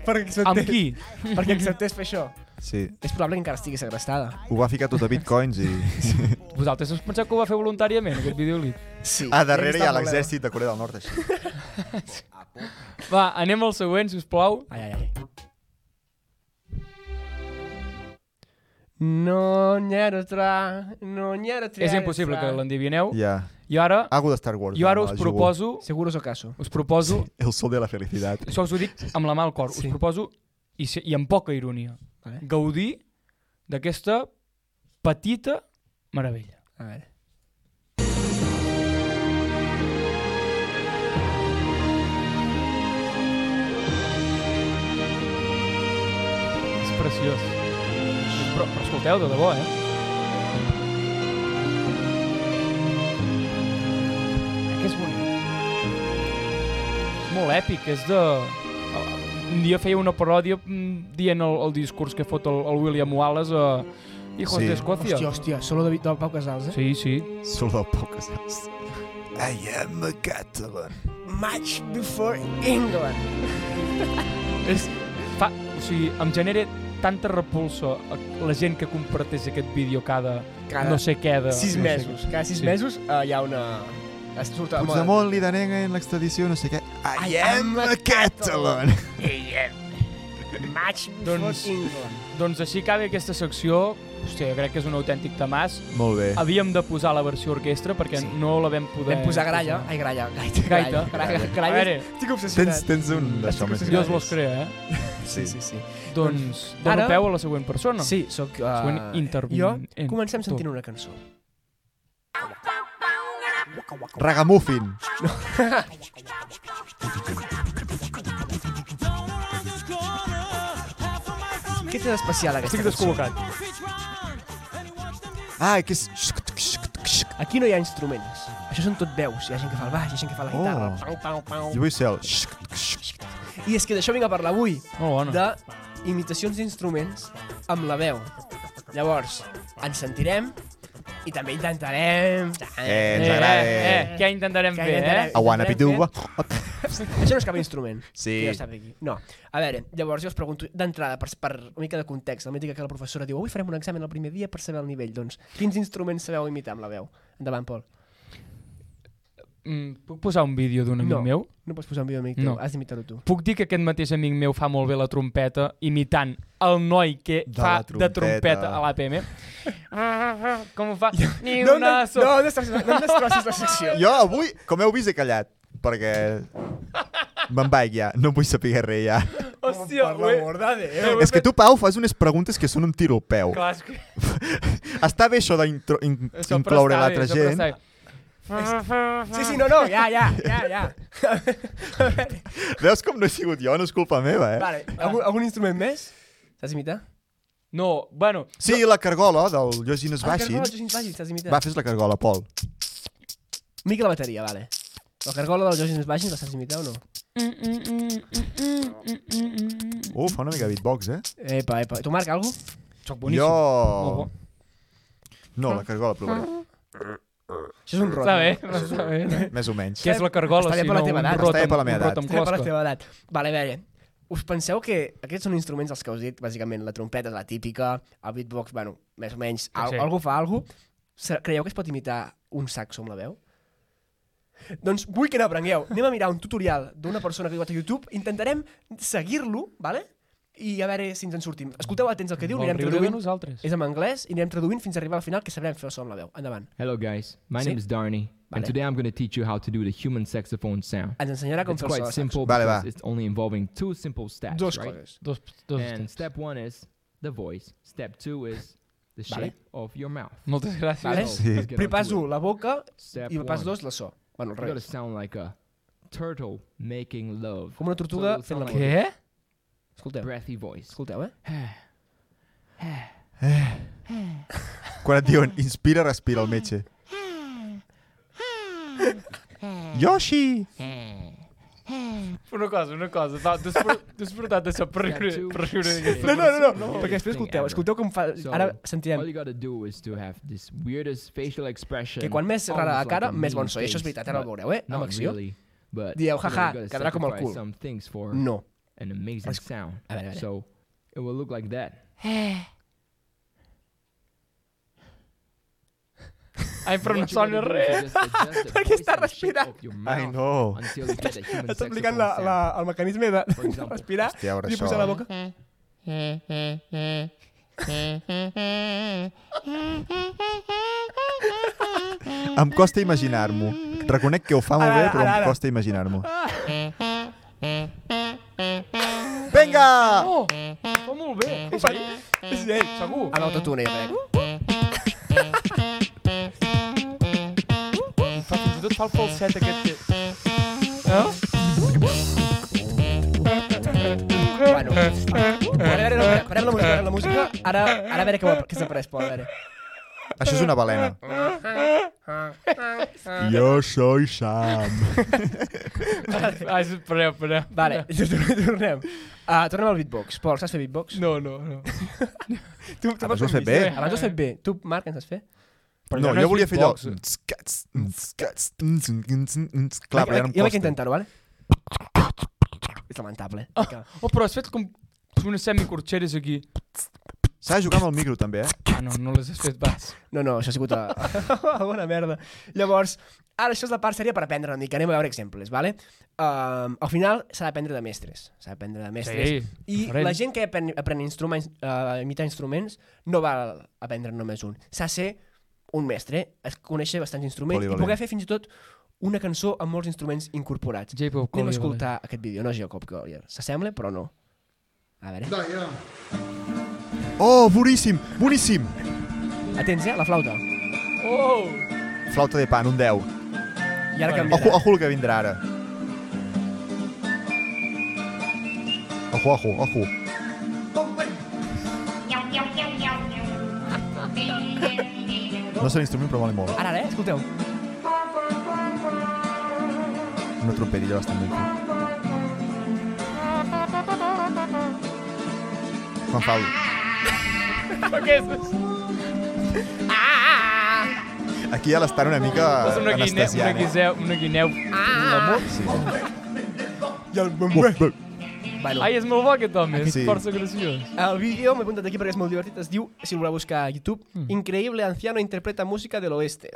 Speaker 3: Perquè
Speaker 2: Amb qui?
Speaker 3: Perquè acceptés fer això.
Speaker 1: Sí.
Speaker 3: És probable que encara estigui segrestada.
Speaker 1: Ho va ficar tot a bitcoins i...
Speaker 2: Vosaltres us penseu que ho va fer voluntàriament, aquest videolip?
Speaker 3: Sí.
Speaker 1: (laughs) A darrere hi ha l'exèrcit de Corea del Nord, així.
Speaker 2: Va, anem al següent, si us plau.
Speaker 3: Ai, ai, ai. No n'era tra, no n'era tra.
Speaker 2: És impossible que l'endivineu.
Speaker 1: Ja.
Speaker 2: I ara,
Speaker 1: Algo de Star Wars.
Speaker 2: jo ara
Speaker 1: no,
Speaker 2: us
Speaker 1: el jugo.
Speaker 2: proposo,
Speaker 3: Seguros o caso.
Speaker 2: us proposo,
Speaker 1: El sol de la felicitat.
Speaker 2: això us ho dic amb la mà al cor, us
Speaker 3: Sí.
Speaker 2: proposo, i, se- i amb poca ironia,
Speaker 3: Vale.
Speaker 2: gaudir d'aquesta petita meravella.
Speaker 3: A veure.
Speaker 2: És preciós. Però, però escolteu, de debò, eh? Eh, Que és bonic. És molt èpic, és de... Un dia feia una paròdia mm, dient el, el discurs que fot el, el William Wallace a, Hijos
Speaker 1: Sí.
Speaker 2: de Escocia.
Speaker 3: Hòstia, hòstia, solo de, del Pau Casals, eh?
Speaker 2: Sí, sí.
Speaker 1: Solo del Pau Casals. I am a Catalan.
Speaker 3: Match before England.
Speaker 2: És, fa, o sigui, em genera tanta repulsa a- la gent que comparteix aquest vídeo cada,
Speaker 3: Cada
Speaker 2: no sé què de...
Speaker 3: Sis
Speaker 2: no sé
Speaker 3: mesos. Cada sis
Speaker 2: Sí.
Speaker 3: mesos eh, hi ha una... Es surt a la moda.
Speaker 1: Puigdemont li deneguen l'extradició, no sé què. I, am a Catalan.
Speaker 3: Eh, Match before
Speaker 2: Doncs-
Speaker 3: England.
Speaker 2: què. Doncs així acaba aquesta secció. Hòstia, crec que és un autèntic tamàs.
Speaker 3: (laughs)
Speaker 1: Molt bé.
Speaker 2: Havíem de posar la versió orquestra perquè
Speaker 3: Sí.
Speaker 2: no la vam poder...
Speaker 3: Vam posar gralla.
Speaker 2: posar.
Speaker 3: Ai, gralla. Gaita.
Speaker 2: Gaita.
Speaker 3: Gralla.
Speaker 1: A
Speaker 3: gralla.
Speaker 2: veure.
Speaker 3: Estic
Speaker 1: Tens,
Speaker 3: obsessionat.
Speaker 1: tens un d'això més
Speaker 3: Estic obsessionat.
Speaker 2: Dios
Speaker 1: gran.
Speaker 2: los crea, eh?
Speaker 3: Sí, sí, sí.
Speaker 2: Doncs dono
Speaker 3: Ara-
Speaker 2: peu a la següent persona.
Speaker 3: Sí, sóc... eh,
Speaker 2: Següent
Speaker 3: Jo,
Speaker 2: intervinent.
Speaker 3: comencem sentint una cançó.
Speaker 1: Ragamuffin.
Speaker 3: Què té d'especial aquesta
Speaker 2: Estic
Speaker 3: cançó?
Speaker 2: descol·locat.
Speaker 1: Ah, que és...
Speaker 3: Aquí no hi ha instruments. Això són tot veus. Hi ha gent que fa el baix, hi ha gent que fa la
Speaker 1: Oh.
Speaker 3: guitarra. Pau, pau, pau.
Speaker 1: Jo vull E ser el...
Speaker 3: I és que d'això vinc a parlar avui,
Speaker 2: Molt bona.
Speaker 3: de imitacions d'instruments amb la veu. Llavors, ens sentirem i també intentarem...
Speaker 1: Eh,
Speaker 2: Eh,
Speaker 1: ens
Speaker 2: eh,
Speaker 1: agrada.
Speaker 2: eh, què intentarem
Speaker 3: Què
Speaker 2: fer,
Speaker 3: intentarem?
Speaker 2: eh?
Speaker 1: Aguana, pituba. (laughs)
Speaker 3: Això no és cap instrument.
Speaker 1: Sí.
Speaker 3: Que ja sap aquí. No. A veure, llavors jo us pregunto d'entrada, per, per una mica de context, la mítica que la professora diu avui farem un examen el primer dia per saber el nivell. Doncs, quins instruments sabeu imitar amb la veu? Endavant, Pol.
Speaker 2: Mm, puc posar un vídeo d'un amic
Speaker 3: no,
Speaker 2: meu?
Speaker 3: no pots posar un vídeo amic teu,
Speaker 2: No.
Speaker 3: has d'imitar-ho tu.
Speaker 2: Puc dir que aquest mateix amic meu fa molt bé la trompeta imitant el noi que
Speaker 1: De
Speaker 2: fa
Speaker 1: la
Speaker 2: de trompeta
Speaker 1: trompeta.
Speaker 2: a l'APM. (laughs) Com ho fa? Ni
Speaker 3: No, no,
Speaker 2: una
Speaker 3: no,
Speaker 2: sola.
Speaker 3: no, destrossis la- no em destrossis la secció.
Speaker 1: Jo avui, com heu vist, he callat, perquè... Me'n vaig ja, no vull saber res ja.
Speaker 2: Hòstia,
Speaker 3: Per
Speaker 2: ho he...
Speaker 3: l'amor de Déu.
Speaker 1: És que tu, Pau, fas unes preguntes que són un tiro al peu.
Speaker 2: Clar, és que...
Speaker 1: (laughs) Està bé això d'incloure
Speaker 2: prestava,
Speaker 1: l'altra
Speaker 2: això
Speaker 1: gent.
Speaker 2: prestava.
Speaker 3: Sí, sí, no, no, ja, ja, ja, ja. (laughs)
Speaker 1: Veus com no he sigut jo, no és culpa meva, eh?
Speaker 3: Vale, algun, algun instrument més? Saps imitar?
Speaker 2: No, bueno,
Speaker 1: Sí, la cargola del Llegines Baixins.
Speaker 3: Baixins. Baixins, saps imitar?
Speaker 1: Va, fes la cargola, Pol.
Speaker 3: Mica la bateria, vale. La cargola dels Jogins Baixins la saps imitar o no?
Speaker 5: Mm,
Speaker 1: Uh, fa una mica de beatbox, eh?
Speaker 3: Epa, epa. Tu, Marc, algú?
Speaker 2: soc boníssim. Molt
Speaker 1: Jo...
Speaker 2: bo.
Speaker 1: No, la cargola
Speaker 2: (laughs)
Speaker 1: provaré.
Speaker 3: Això és un rot.
Speaker 2: Està bé, està bé.
Speaker 1: Més o menys.
Speaker 2: Què és la cargola,
Speaker 3: Està bé
Speaker 2: si
Speaker 3: per la
Speaker 2: no
Speaker 3: teva
Speaker 2: un
Speaker 3: edat,
Speaker 2: rot
Speaker 1: està bé
Speaker 2: amb-
Speaker 1: per la meva
Speaker 2: un rot
Speaker 1: edat.
Speaker 2: amb
Speaker 3: Té per la
Speaker 2: closca?
Speaker 3: teva edat. Vale, a veure, us penseu que aquests són instruments els que us he dit, bàsicament la trompeta és la típica, el beatbox, bueno, més o menys, al,
Speaker 2: Sí.
Speaker 3: algú fa algú. Se- Creieu que es pot imitar un saxo amb la veu? Doncs vull que n'aprengueu. Anem a mirar un tutorial d'una persona que ha jugat a YouTube, intentarem seguir-lo, vale? i a veure si ens en sortim. Escolteu atents el que diu,
Speaker 2: Vol
Speaker 3: anirem
Speaker 2: riure de
Speaker 3: traduint.
Speaker 2: nosaltres.
Speaker 3: És en anglès i anirem traduint fins a arribar al final que sabrem fer el so amb la veu. Endavant.
Speaker 6: Hello guys, my
Speaker 3: Sí.
Speaker 6: name is Darnie,
Speaker 3: Vale.
Speaker 6: and today I'm going to teach you how to do the human saxophone sound.
Speaker 3: Ens ensenyarà com
Speaker 6: It's
Speaker 3: fer el so.
Speaker 6: quite
Speaker 3: de saxo.
Speaker 6: simple
Speaker 1: Vale, va.
Speaker 6: because it's only involving two simple steps,
Speaker 3: Dos
Speaker 6: right?
Speaker 3: coses.
Speaker 2: Dos, dos.
Speaker 6: And step one is the voice. Step two is the
Speaker 3: Vale.
Speaker 6: shape of your mouth.
Speaker 2: Moltes gràcies.
Speaker 3: Vale?
Speaker 6: So, let's get on
Speaker 3: Primer pas
Speaker 6: to it.
Speaker 3: 1, la boca,
Speaker 6: Step
Speaker 3: i pas
Speaker 6: one.
Speaker 3: 2, la so. Bueno, al
Speaker 6: You're gonna
Speaker 3: revés.
Speaker 6: sound like a turtle making love.
Speaker 3: Com una
Speaker 6: So
Speaker 3: tortuga
Speaker 6: you'll
Speaker 3: fent
Speaker 6: sound
Speaker 3: l'amor.
Speaker 2: Què?
Speaker 6: like a
Speaker 3: Escolteu,
Speaker 6: breathy voice.
Speaker 3: escolteu, eh?
Speaker 1: Quan et diuen inspira, respira el metge. Yoshi!
Speaker 2: Una cosa, una cosa. Va, t'has (laughs) por- t'has portat això per riure. Per riure d'aquesta
Speaker 3: No, no, no, no,
Speaker 6: No,
Speaker 3: perquè després
Speaker 6: thing
Speaker 3: escolteu,
Speaker 6: ever.
Speaker 3: escolteu com fa...
Speaker 6: So,
Speaker 3: Ara
Speaker 6: All
Speaker 3: sentirem
Speaker 6: you gotta do is to have this weirdest facial expression.
Speaker 3: que quan més rara la
Speaker 6: almost
Speaker 3: cara,
Speaker 6: like a
Speaker 3: més bon
Speaker 6: mean
Speaker 3: so. I això és
Speaker 6: face,
Speaker 3: veritat, ara
Speaker 6: but
Speaker 3: ho veureu, eh? Amb
Speaker 6: Not
Speaker 3: acció.
Speaker 6: really, but
Speaker 3: Dieu,
Speaker 6: you know, you
Speaker 3: "Jaja,
Speaker 6: gotta
Speaker 3: quedarà com el
Speaker 6: sacrifice
Speaker 3: cul."
Speaker 6: Some things for
Speaker 3: No.
Speaker 6: an amazing
Speaker 3: Es-
Speaker 6: sound.
Speaker 3: a veure, a veure.
Speaker 6: So it will look like that.
Speaker 2: Ai, però no sona res.
Speaker 6: Perquè
Speaker 3: està respirant.
Speaker 1: Ai, no.
Speaker 6: Està
Speaker 3: el mecanisme de,
Speaker 6: For example. eh?
Speaker 3: respirar
Speaker 1: Hòstia, a veure això.
Speaker 3: boca.
Speaker 1: Em costa imaginar-m'ho. Reconec que ho fa molt
Speaker 3: Ara,
Speaker 1: bé,
Speaker 3: ara,
Speaker 1: però
Speaker 3: ara,
Speaker 1: em
Speaker 3: ara.
Speaker 1: costa imaginar-m'ho. Vinga!
Speaker 2: Oh, fa molt bé. És ell, és ell, segur.
Speaker 3: Amb eh? autotune, jo
Speaker 6: (laughs)
Speaker 3: crec.
Speaker 2: Fa, fins i tot fa el falset aquest (laughs) que... é Eh?
Speaker 3: Bueno. A veure, a veure, no, parem la música, parem la música. Ara, ara a veure què, ho- què s'ha pres, Pol, a veure.
Speaker 1: Això és una balena. Jo soy Sam.
Speaker 2: Ah, espereu, espereu.
Speaker 3: Vale, (laughs) tornem. Uh, tornem al beatbox. Pol, saps fer beatbox?
Speaker 2: No, no, no.
Speaker 3: Tu, tu
Speaker 1: Abans
Speaker 3: pots
Speaker 1: ho has fet bé.
Speaker 2: vist,
Speaker 3: Abans ho has fet bé. Tu, Marc, ens has fet?
Speaker 2: Però
Speaker 1: No,
Speaker 2: ja no
Speaker 1: jo
Speaker 2: és
Speaker 1: volia fer allò.
Speaker 2: beatbox.
Speaker 1: Clar, però ja no em
Speaker 3: jo vaig
Speaker 1: costa.
Speaker 3: intentar-ho, vale? És lamentable. Vinga.
Speaker 2: Oh, però has fet com unes semicorxeres aquí.
Speaker 1: S'ha de jugar amb el micro, també, eh?
Speaker 2: Ah, no, no les has fet, vas.
Speaker 3: No, no, això ha sigut
Speaker 1: (laughs)
Speaker 3: a... una merda. Llavors, ara això és la part sèria per aprendre una mica. Anem a veure exemples, vale? Um, al final s'ha d'aprendre de mestres. S'ha d'aprendre de mestres.
Speaker 2: Sí,
Speaker 3: I
Speaker 2: referent.
Speaker 3: la gent que apren, apren instruments, uh, imitar instruments no val aprendre només un. S'ha de ser un mestre, es conèixer bastants instruments
Speaker 1: Polivalent.
Speaker 3: i poder fer fins i tot una cançó amb molts instruments incorporats.
Speaker 2: J-Pop
Speaker 3: Anem a
Speaker 2: né? Collier.
Speaker 3: escoltar aquest vídeo, no és Jacob Collier. S'assembla, però no. A veure.
Speaker 1: Oh, boníssim, boníssim.
Speaker 3: Atents, eh? La flauta.
Speaker 2: Oh!
Speaker 1: Flauta de pan, un 10.
Speaker 3: I ara
Speaker 2: Bueno.
Speaker 1: Ojo,
Speaker 3: canviarà.
Speaker 1: ojo el que vindrà ara. Ojo, ojo, ojo. No sé l'instrument, però mola i molt.
Speaker 3: Ara, ara, eh? Escolteu.
Speaker 1: Una trompetilla bastant ben feta. Juan Pablo.
Speaker 2: Aquestes!
Speaker 1: Aquí ja l'estan una mica
Speaker 2: Posa Ah! una guineu, una
Speaker 1: anestesiant, eh?
Speaker 2: guineu, una guineu. Ah!
Speaker 1: Sí.
Speaker 3: I el Bueno,
Speaker 2: Ai, és molt bo aquest home, és
Speaker 1: Sí.
Speaker 2: força graciós.
Speaker 3: El vídeo m'he apuntat aquí perquè és molt divertit. Es diu, si el voleu buscar a YouTube,
Speaker 2: Mm.
Speaker 3: Increíble Anciano interpreta música de l'oeste.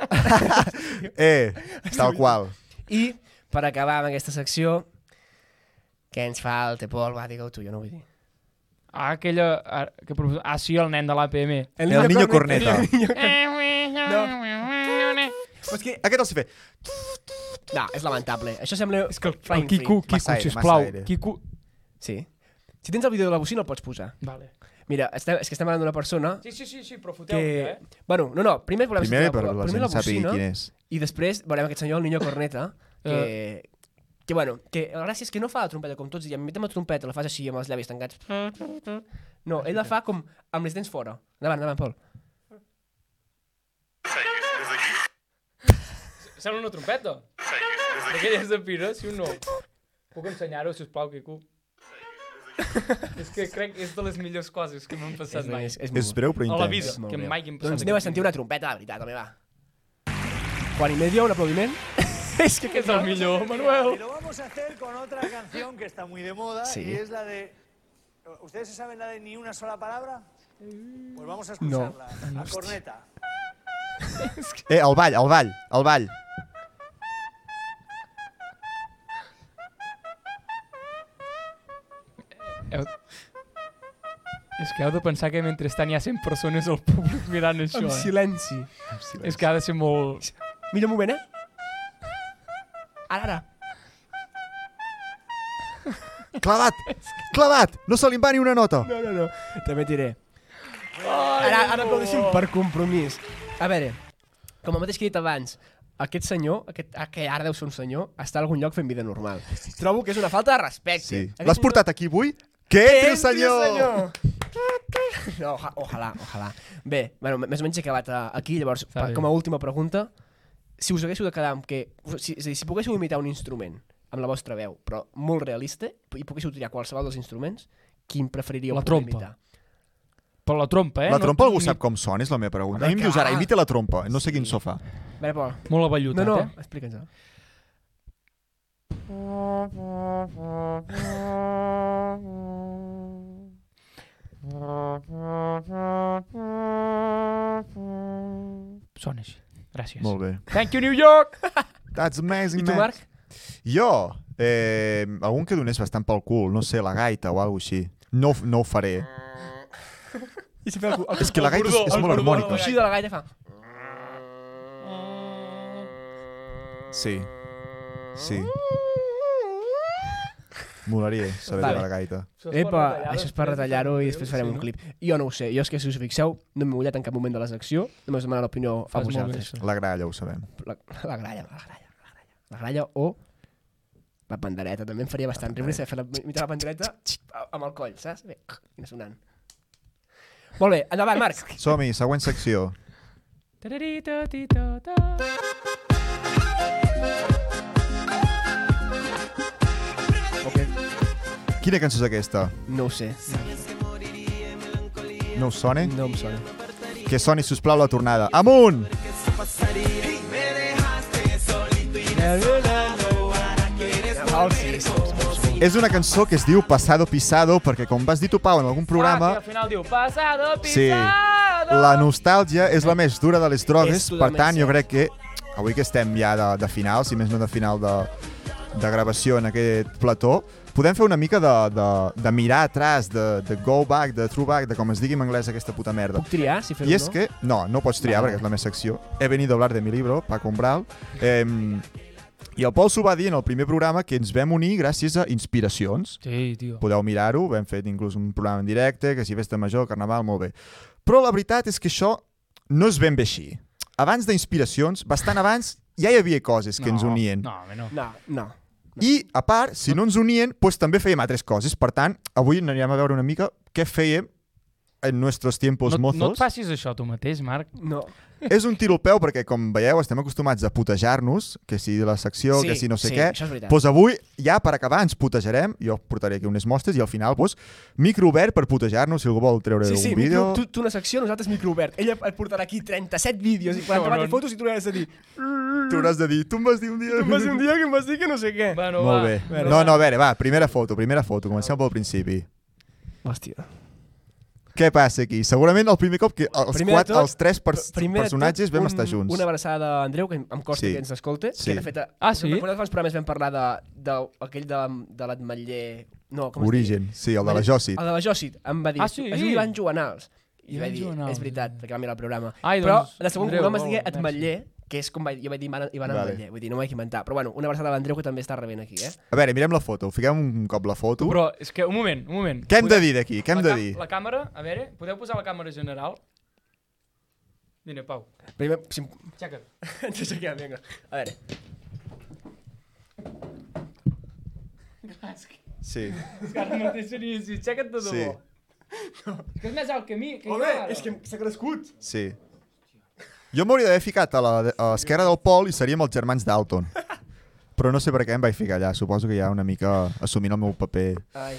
Speaker 1: Eh, tal qual.
Speaker 3: I, per acabar amb aquesta secció, què ens falta, Pol? Va, digue-ho tu, jo no ho vull dir.
Speaker 2: Ah, aquella... ah, Que professor... Ah, sí, el nen de l'APM. (laughs)
Speaker 1: El niño corneta.
Speaker 3: Però és que,
Speaker 1: Aquest el sé fer.
Speaker 3: no, és lamentable. Això sembla...
Speaker 2: És que el, el
Speaker 3: Flying Flea.
Speaker 2: Quico, Quico,
Speaker 1: Massa aire,
Speaker 2: sisplau.
Speaker 1: massa aire.
Speaker 2: Quico...
Speaker 3: Sí. Si tens el vídeo de la bocina, el pots posar.
Speaker 2: Vale.
Speaker 3: Mira, estem, és que estem parlant d'una persona
Speaker 2: Sí, sí, sí, sí però foteu
Speaker 3: que... Bueno, no, no, primer volem
Speaker 1: eh. Primer,
Speaker 3: sentir
Speaker 1: per la
Speaker 3: primer
Speaker 1: gent sàpiga quin és. Ah.
Speaker 3: I després veurem aquest senyor, el Niño Corneta, que... Que, bueno, que la gràcia és que no fa la trompeta com tots diem, metem la trompeta, la fas així amb els llavis tancats.
Speaker 1: Mm,
Speaker 3: No, ell la fa com amb les dents fora. Endavant, endavant, Pol.
Speaker 2: Sembla una trompeta. D'aquelles de pira, sí o no? Puc ensenyar-ho, sisplau, Quico? és que crec que és de les millors coses que m'han passat mai.
Speaker 3: és,
Speaker 1: És breu, però
Speaker 2: A
Speaker 1: intens.
Speaker 2: la vida,
Speaker 3: molt
Speaker 2: que
Speaker 3: breu.
Speaker 2: mai que em passat.
Speaker 3: Doncs aneu a sentir una trompeta, la veritat, home, va. Juan i medio, un aplaudiment. és que
Speaker 2: És el millor, Manuel.
Speaker 7: Y lo vamos a hacer con otra canción que está muy de moda
Speaker 3: Sí.
Speaker 7: y es la de. ¿Ustedes se saben la de ni una sola palabra? Pues vamos a escucharla. A corneta.
Speaker 1: Eh, el ball, el ball, el ball.
Speaker 2: Heu... És que heu de pensar que mentrestant hi ha 100 persones al públic mirant això,
Speaker 3: Amb
Speaker 2: eh?
Speaker 3: silenci.
Speaker 2: És que ha de ser molt...
Speaker 3: Millor moment, eh? Ara, ara.
Speaker 1: Clavat, clavat. No se li va ni una nota.
Speaker 3: No, no, no. També tiré. Ara, ara aplaudeixin per compromís. A veure, com el mateix que he dit abans, aquest senyor, aquest, ah, que ara deu ser un senyor, està a algun lloc fent vida normal. Trobo que és una falta de respecte.
Speaker 1: Sí.
Speaker 3: Aquest
Speaker 1: L'has
Speaker 3: senyor-
Speaker 1: portat aquí avui? Que
Speaker 3: Que
Speaker 1: entri,
Speaker 3: entri,
Speaker 1: senyor!
Speaker 3: No, oja- ojalà, ojalà. Bé, bueno, més o menys he acabat eh, aquí, llavors,
Speaker 2: Està
Speaker 3: pa-
Speaker 2: bé.
Speaker 3: com a última pregunta, si us haguéssiu de quedar amb que... Si, és a dir, si poguéssiu imitar un instrument amb la vostra veu, però molt realista, i poguéssiu triar qualsevol dels instruments, quin preferiríeu
Speaker 2: La
Speaker 3: poder
Speaker 2: trompa.
Speaker 3: imitar?
Speaker 2: Per la trompa, eh?
Speaker 1: La
Speaker 2: No
Speaker 1: trompa algú
Speaker 2: ni-
Speaker 1: sap com sona, és la meva pregunta. A mi
Speaker 3: Home,
Speaker 1: em dius
Speaker 3: clar.
Speaker 1: ara, imita la trompa. eh? No sé quin sofà.
Speaker 3: A veure, Pol.
Speaker 2: Molt avallutat,
Speaker 3: No, no,
Speaker 2: eh?
Speaker 3: explica'ns.
Speaker 2: Sona així. Gràcies.
Speaker 1: Molt bé.
Speaker 2: Thank you, New York!
Speaker 1: That's amazing,
Speaker 3: I tu,
Speaker 1: man.
Speaker 3: Marc?
Speaker 1: Jo, eh, algun que donés bastant pel cul, no sé, la gaita o alguna així. No, ho f- no ho faré.
Speaker 3: I si feu el, el,
Speaker 1: És que la gaita és, és
Speaker 2: el
Speaker 1: molt
Speaker 2: cordó,
Speaker 1: harmònica.
Speaker 3: coixí de la gaita fa...
Speaker 1: Sí. Sí. (laughs) Molaria saber
Speaker 3: Vale.
Speaker 1: tocar la gaita.
Speaker 3: Epa, això és per retallar-ho i després farem un clip. Jo no ho sé, jo és que si us fixeu, no m'he mullat en cap moment de la secció, només demanar l'opinió a
Speaker 2: Fas molt bé,
Speaker 3: vosaltres.
Speaker 2: això.
Speaker 1: La gralla, ho sabem.
Speaker 3: La, la gralla, la gralla, la gralla. La gralla o la pandereta, també em faria bastant riure si fer la, imitar la pandereta a- amb el coll, saps? Bé, quina sonant. Molt bé, endavant, Marc.
Speaker 1: Som-hi, següent secció.
Speaker 2: Tararitatitatà.
Speaker 1: Quina cançó és aquesta?
Speaker 3: No ho sé.
Speaker 1: No us sona?
Speaker 3: No em sona.
Speaker 1: Que soni, sisplau, la tornada. Amunt!
Speaker 3: Ah, sí, sí, sí.
Speaker 1: És una cançó que es diu Pasado Pisado perquè, com vas dir tu, Pau, en algun
Speaker 2: Ah, que
Speaker 1: programa,
Speaker 2: al final diu, pasado,
Speaker 1: Sí.
Speaker 2: pisado.
Speaker 1: la nostàlgia és la més dura de les drogues.
Speaker 3: És totalment
Speaker 1: Per tant, jo
Speaker 3: cert.
Speaker 1: crec que avui que estem ja de, de final, si més no de final de, de gravació en aquest plató, podem fer una mica de, de, de mirar atràs, de, de go back, de true back, de com es digui en anglès aquesta puta merda.
Speaker 3: Puc triar, si fer-ho
Speaker 1: I és
Speaker 3: no?
Speaker 1: que... No, no pots triar
Speaker 3: Vale.
Speaker 1: perquè és la meva secció. He venido a hablar de mi libro, Paco Umbral. Eh, I el Pol s'ho va dir en el primer programa que ens vam unir gràcies a Inspiracions.
Speaker 2: Sí, tio.
Speaker 1: Podeu mirar-ho, vam fer inclús un programa en directe, que si festa major, carnaval, molt bé. Però la veritat és que això no és ben bé així. Abans d'Inspiracions, bastant abans, ja hi havia coses que ens unien.
Speaker 2: No, home, no.
Speaker 3: No, no.
Speaker 1: I, a part, si no ens unien, doncs també fèiem altres coses. Per tant, avui anirem a veure una mica què fèiem en nuestros tiempos
Speaker 2: no,
Speaker 1: mozos.
Speaker 2: no et facis això tu mateix, Marc.
Speaker 3: No.
Speaker 1: És un tiro al peu perquè, com veieu, estem acostumats a putejar-nos, que si la secció,
Speaker 3: Sí,
Speaker 1: que si no sé
Speaker 3: sí,
Speaker 1: què.
Speaker 3: això és veritat.
Speaker 1: Doncs avui, ja per acabar, ens putejarem. Jo portaré aquí unes mostres i al final, doncs, micro obert per putejar-nos, si algú vol treure
Speaker 3: Sí, sí,
Speaker 1: un vídeo.
Speaker 3: micro, tu, tu una secció, nosaltres micro obert. Ella et portarà aquí 37 vídeos i 44
Speaker 2: Cabron.
Speaker 3: fotos i tu l'hauràs de dir
Speaker 1: Tu hauràs de dir, tu em vas dir un dia...
Speaker 3: "Em vas dir un dia que em vas dir que no sé què.
Speaker 2: Bueno,
Speaker 1: Molt
Speaker 2: va.
Speaker 1: bé.
Speaker 2: Bueno,
Speaker 1: No,
Speaker 2: va.
Speaker 1: no, a veure, va, primera foto, primera foto. Comencem pel principi.
Speaker 3: Hòstia.
Speaker 1: Què passa aquí? Segurament el primer cop que els,
Speaker 3: Primer de
Speaker 1: quatre,
Speaker 3: tot-
Speaker 1: els tres per
Speaker 3: Pr- primer de
Speaker 1: personatges
Speaker 3: tot,
Speaker 1: vam
Speaker 3: un-
Speaker 1: estar junts.
Speaker 3: Una abraçada d'Andreu, que em costa
Speaker 1: Sí.
Speaker 3: que ens escolte.
Speaker 1: Sí.
Speaker 3: Que de fet,
Speaker 2: Ah, sí?
Speaker 3: Recordes fa uns programes vam parlar de, de aquell de, de l'Atmetller... No, com
Speaker 1: Origen, sí, el de la
Speaker 3: Es
Speaker 1: Jòcit.
Speaker 3: diu? El de la Jòcit. Em va dir,
Speaker 2: Ah, sí?
Speaker 3: es diu Ivan Joanals. I
Speaker 2: Ivan
Speaker 3: va dir,
Speaker 2: Joanals. eh."
Speaker 3: és veritat, perquè va mirar el programa.
Speaker 2: Ai,
Speaker 3: Però
Speaker 2: doncs,
Speaker 3: el segon
Speaker 2: Andreu,
Speaker 3: cognom es
Speaker 2: oh,
Speaker 3: deia
Speaker 2: merci.
Speaker 3: Atmetller, que és com vaig, jo vaig dir Ivan Ivan
Speaker 1: Vale.
Speaker 3: Atmetller. Vull dir, no m'ho vaig inventar. Però bueno, una abraçada a l'Andreu que també està rebent aquí, eh?
Speaker 1: A veure, mirem la foto. Fiquem un cop la foto.
Speaker 2: Però és que, un moment, un moment.
Speaker 1: Què hem de
Speaker 2: Podeu-
Speaker 1: dir d'aquí? Què hem
Speaker 2: la
Speaker 1: de
Speaker 2: cam-
Speaker 1: dir?
Speaker 2: La càmera, a veure, podeu posar la càmera general? Vine, Pau,
Speaker 3: Primer, si... em- (laughs)
Speaker 2: aixeca.
Speaker 3: Ens aixequem, vinga. A veure. (laughs)
Speaker 1: Sí.
Speaker 2: És que ara mateix seria així, aixeca't de
Speaker 1: Sí.
Speaker 2: debò. És que és més alt que mi, que
Speaker 3: Home,
Speaker 2: jo ara.
Speaker 3: és que s'ha crescut.
Speaker 1: Sí. Jo m'hauria d'haver ficat a la- a l'esquerra del Pol i seríem els germans
Speaker 3: (laughs)
Speaker 1: Dalton. Però no sé per què em vaig ficar allà. Suposo que ja una mica assumint el meu paper.
Speaker 3: Ai.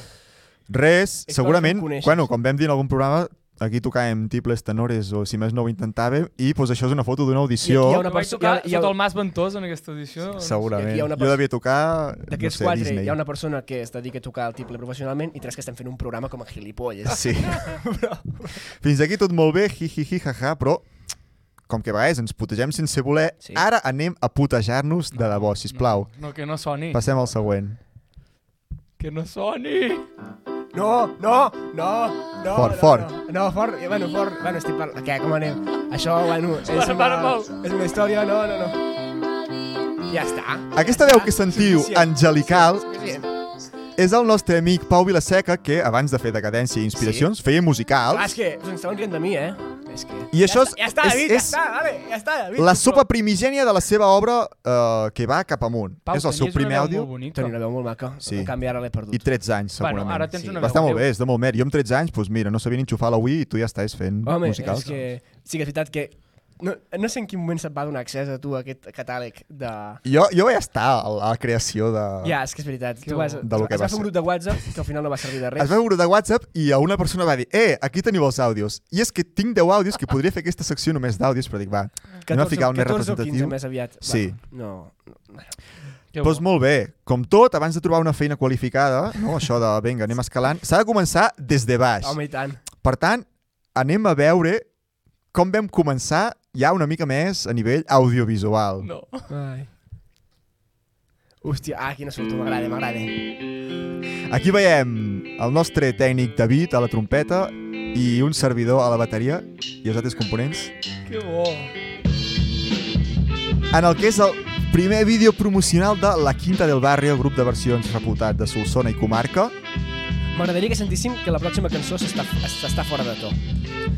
Speaker 1: Res,
Speaker 3: És
Speaker 1: segurament,
Speaker 3: quan em coneixes.
Speaker 1: bueno, com vam dir en algun programa, aquí tocàvem tibles, tenores o si més no ho intentàvem i doncs, això és una foto d'una
Speaker 3: I aquí hi ha
Speaker 1: audició.
Speaker 3: una
Speaker 2: Una vaig
Speaker 3: perso-
Speaker 2: tocar
Speaker 3: hi ha- hi ha-
Speaker 2: sota el Mas Ventós en aquesta edició. no?
Speaker 3: I aquí
Speaker 1: Segurament.
Speaker 3: hi ha una
Speaker 1: Jo devia tocar, no
Speaker 3: D'aquests
Speaker 1: sé,
Speaker 3: no quatre,
Speaker 1: Disney.
Speaker 3: hi ha una persona que es dedica a tocar el tiple professionalment i tres que estem fent un programa com a gilipolles.
Speaker 1: Sí. Fins aquí tot molt bé, hi, hi, hi, ha, ha, però com que a vegades ens putegem sense voler,
Speaker 3: Sí.
Speaker 1: sí. ara anem a putejar-nos de debò, sisplau.
Speaker 2: No, que no soni.
Speaker 1: Passem al següent.
Speaker 2: Que no soni.
Speaker 3: No, no, no, no.
Speaker 1: Fort,
Speaker 3: no,
Speaker 1: fort.
Speaker 3: No, no fort, eh, bueno, fort. Bueno, estic parlant. Què, com anem? Això, bueno, és
Speaker 2: Para, para,
Speaker 3: una,
Speaker 2: Pau.
Speaker 3: és una història, no, no, no. Ja està.
Speaker 1: Aquesta veu que sentiu, angelical,
Speaker 3: Clar,
Speaker 1: és el nostre amic Pau Vilaseca, que abans de fer Decadència i Inspiracions feia
Speaker 3: Ah, és
Speaker 2: Ah,
Speaker 1: musicals.
Speaker 3: que s'estaven rient de mi, eh? És que...
Speaker 1: I això és-
Speaker 3: ja està,
Speaker 1: és- és-
Speaker 3: David, ja està, vale, ja està, David.
Speaker 1: La sopa primigènia de la seva obra eh, que va cap amunt.
Speaker 2: Pau,
Speaker 1: és el seu
Speaker 2: tenies
Speaker 1: primer
Speaker 2: una veu
Speaker 1: àudio
Speaker 2: molt bonica.
Speaker 3: Tenia una veu molt maca,
Speaker 1: Sí.
Speaker 3: sí. en canvi ara l'he perdut.
Speaker 1: i 13 anys,
Speaker 2: Bueno,
Speaker 1: segurament.
Speaker 2: ara tens una
Speaker 1: va estar
Speaker 2: veu,
Speaker 1: molt bé,
Speaker 2: adéu.
Speaker 1: és de molt mer. Jo amb 13 anys, doncs mira, no sabia ni enxufar la Wii i tu ja estàs fent
Speaker 3: Home,
Speaker 1: musicals. doncs.
Speaker 3: és que sí que és veritat que no, no sé en quin moment se't va donar accés a tu a aquest catàleg de...
Speaker 1: Jo, jo vaig estar a la creació de...
Speaker 3: Ja, és que és veritat. Tu
Speaker 2: bo.
Speaker 3: vas,
Speaker 1: De lo que
Speaker 3: es
Speaker 1: va
Speaker 3: va fer
Speaker 1: ser.
Speaker 3: un grup de WhatsApp que al final no va servir de
Speaker 1: Es
Speaker 3: res.
Speaker 1: va veure de WhatsApp i a una persona va dir eh, aquí teniu els àudios. I és que tinc 10 àudios que podria fer aquesta secció només d'àudios, però dic, va, anem a ficar un més
Speaker 3: 14 o 15
Speaker 1: representatiu.
Speaker 3: més aviat.
Speaker 1: Sí.
Speaker 3: Bueno, no,
Speaker 2: Que
Speaker 1: Doncs molt bé, com tot, abans de trobar una feina qualificada, no? això de vinga, anem escalant, s'ha de començar des de baix.
Speaker 3: home i tant.
Speaker 1: Per tant, anem a veure com vam començar ja una mica més a nivell audiovisual.
Speaker 2: No.
Speaker 3: Ai. Hòstia, ah, quina sort, m'agrada, m'agrada.
Speaker 1: Aquí veiem el nostre tècnic David a la trompeta i un servidor a la bateria i els altres components.
Speaker 2: Que bo.
Speaker 1: en el que és el primer vídeo promocional de La Quinta del Barri, el grup de versions reputat de Solsona i comarca.
Speaker 3: M'agradaria que sentíssim que la pròxima cançó s'està s'està fora de to.